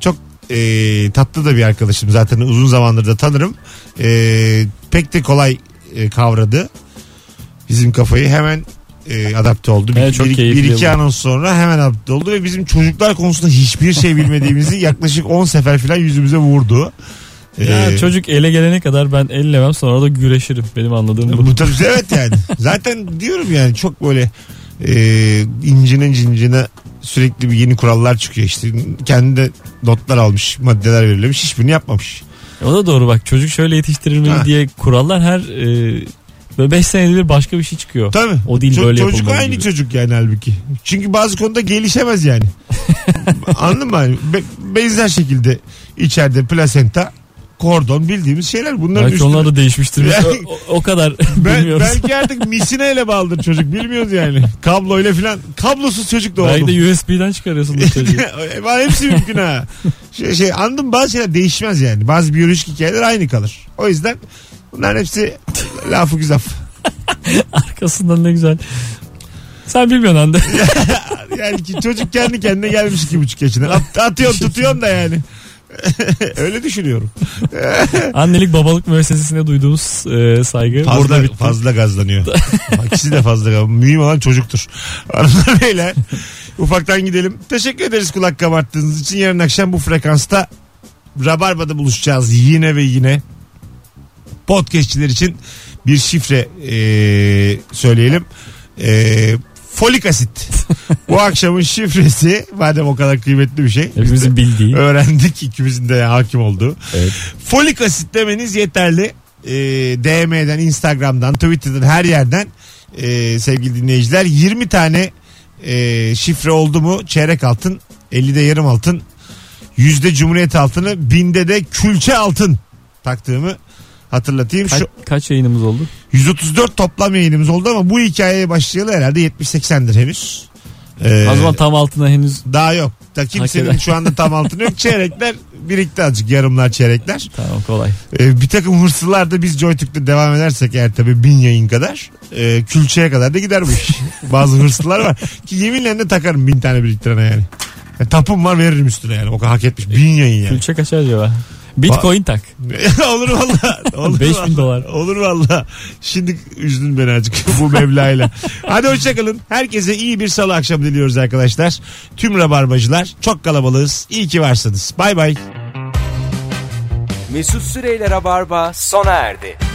Speaker 2: Çok e, tatlı da bir arkadaşım zaten uzun zamandır da tanırım. Ee, pek de kolay e, kavradı bizim kafayı hemen e, adapte oldu. Bir,
Speaker 4: Evet, çok
Speaker 2: bir-
Speaker 4: keyifli
Speaker 2: bir iki
Speaker 4: oldu.
Speaker 2: anons sonra hemen adapte oldu ve bizim çocuklar konusunda hiçbir şey bilmediğimizi yaklaşık 10 sefer falan yüzümüze vurdu.
Speaker 4: Ya
Speaker 2: Ee,
Speaker 4: çocuk ele gelene kadar ben ellemem sonra da güreşirim. Benim anladığım bu. [laughs]
Speaker 2: Bu tabii [laughs] evet yani. Zaten diyorum yani çok böyle e, incine cincine sürekli bir yeni kurallar çıkıyor işte. Kendi de notlar almış, maddeler verilmiş. Hiçbirini yapmamış.
Speaker 4: O da doğru bak çocuk şöyle yetiştirilmeli
Speaker 2: Ha.
Speaker 4: diye kurallar her e, 5 senede bir başka bir şey çıkıyor.
Speaker 2: Tabii.
Speaker 4: O değil
Speaker 2: Ço-
Speaker 4: böyle
Speaker 2: Çocuk
Speaker 4: yapılmalı
Speaker 2: aynı
Speaker 4: gibi.
Speaker 2: çocuk yani halbuki. Çünkü bazı konuda gelişemez
Speaker 4: [laughs]
Speaker 2: yani. Anladın mı? Yani Be- benzer şekilde içeride plasenta, kordon bildiğimiz şeyler. Bunların
Speaker 4: Belki
Speaker 2: üstüne-
Speaker 4: onlar da değişmiştir. Biz
Speaker 2: Yani-
Speaker 4: o, o- o [laughs] kadar
Speaker 2: Bel-
Speaker 4: bilmiyoruz.
Speaker 2: belki artık misineyle bağlıdır çocuk. Bilmiyoruz
Speaker 4: [laughs]
Speaker 2: yani. Kabloyla filan. Kablosuz çocuk da
Speaker 4: Belki
Speaker 2: oldu.
Speaker 4: de USB'den çıkarıyorsun bu [laughs] çocuğu.
Speaker 2: Var hepsi mümkün ha. Şey, şey andım bazı şeyler değişmez yani. Bazı biyolojik hikayeler aynı kalır. O yüzden bunların hepsi lafı güzel.
Speaker 4: Arkasından ne güzel. Sen bilmiyorsun [laughs] Hande.
Speaker 2: Yani ki çocuk kendi kendine gelmiş iki buçuk yaşına. At, atıyorsun tutuyorsun da yani. [laughs] Öyle düşünüyorum.
Speaker 4: Annelik babalık müessesesinde duyduğumuz e, saygı burada bitti.
Speaker 2: fazla gazlanıyor. İkisi de fazla gaz- Mühim olan çocuktur. [laughs] Hanımlar beyler ufaktan gidelim. Teşekkür ederiz kulak kabarttığınız için. Yarın akşam bu frekansta Rabarba'da buluşacağız yine ve yine. Podcastçiler için bir şifre e, söyleyelim. E, folik asit. bu akşamın şifresi madem o kadar kıymetli bir şey.
Speaker 4: Hepimizin bildiği.
Speaker 2: Öğrendik ikimizin de hakim olduğu.
Speaker 4: Evet.
Speaker 2: Folik asit demeniz yeterli. Ee, DM'den, Instagram'dan, Twitter'dan her yerden ee, sevgili dinleyiciler 20 tane ee, şifre oldu mu çeyrek altın, 50'de yarım altın, yüzde cumhuriyet altını, binde de külçe altın taktığımı hatırlatayım.
Speaker 4: Kaç,
Speaker 2: Şu
Speaker 4: kaç yayınımız oldu?
Speaker 2: 134 toplam yayınımız oldu ama bu hikayeye başlayalı herhalde 70-80'dir henüz. Ee,
Speaker 4: O zaman tam altına henüz
Speaker 2: daha yok. Da kimsenin
Speaker 4: eder.
Speaker 2: şu anda tam altını yok. Çeyrekler birikti azıcık. Yarımlar çeyrekler.
Speaker 4: tamam kolay.
Speaker 2: Ee, bir takım hırsızlar da biz Joytürk'te devam edersek eğer tabii bin yayın kadar e, külçeye kadar da gider bu
Speaker 4: [laughs]
Speaker 2: iş. Bazı hırsızlar var. Ki yeminle de takarım bin tane biriktirene yani. Ya tapum var veririm üstüne yani. O kadar hak etmiş. Bin yayın yani.
Speaker 4: Külçe kaç acaba? Bitcoin tak.
Speaker 2: [laughs] olur valla.
Speaker 4: [laughs]
Speaker 2: Olur
Speaker 4: 5000
Speaker 2: valla.
Speaker 4: dolar.
Speaker 2: Olur valla. Şimdi üzdün beni azıcık [laughs] bu mevlayla. Hadi hoşçakalın. Herkese iyi bir salı akşamı diliyoruz arkadaşlar. Tüm rabarbacılar çok kalabalığız. İyi ki varsınız. Bay bay.
Speaker 1: Mesut Süreyler'e barba sona erdi.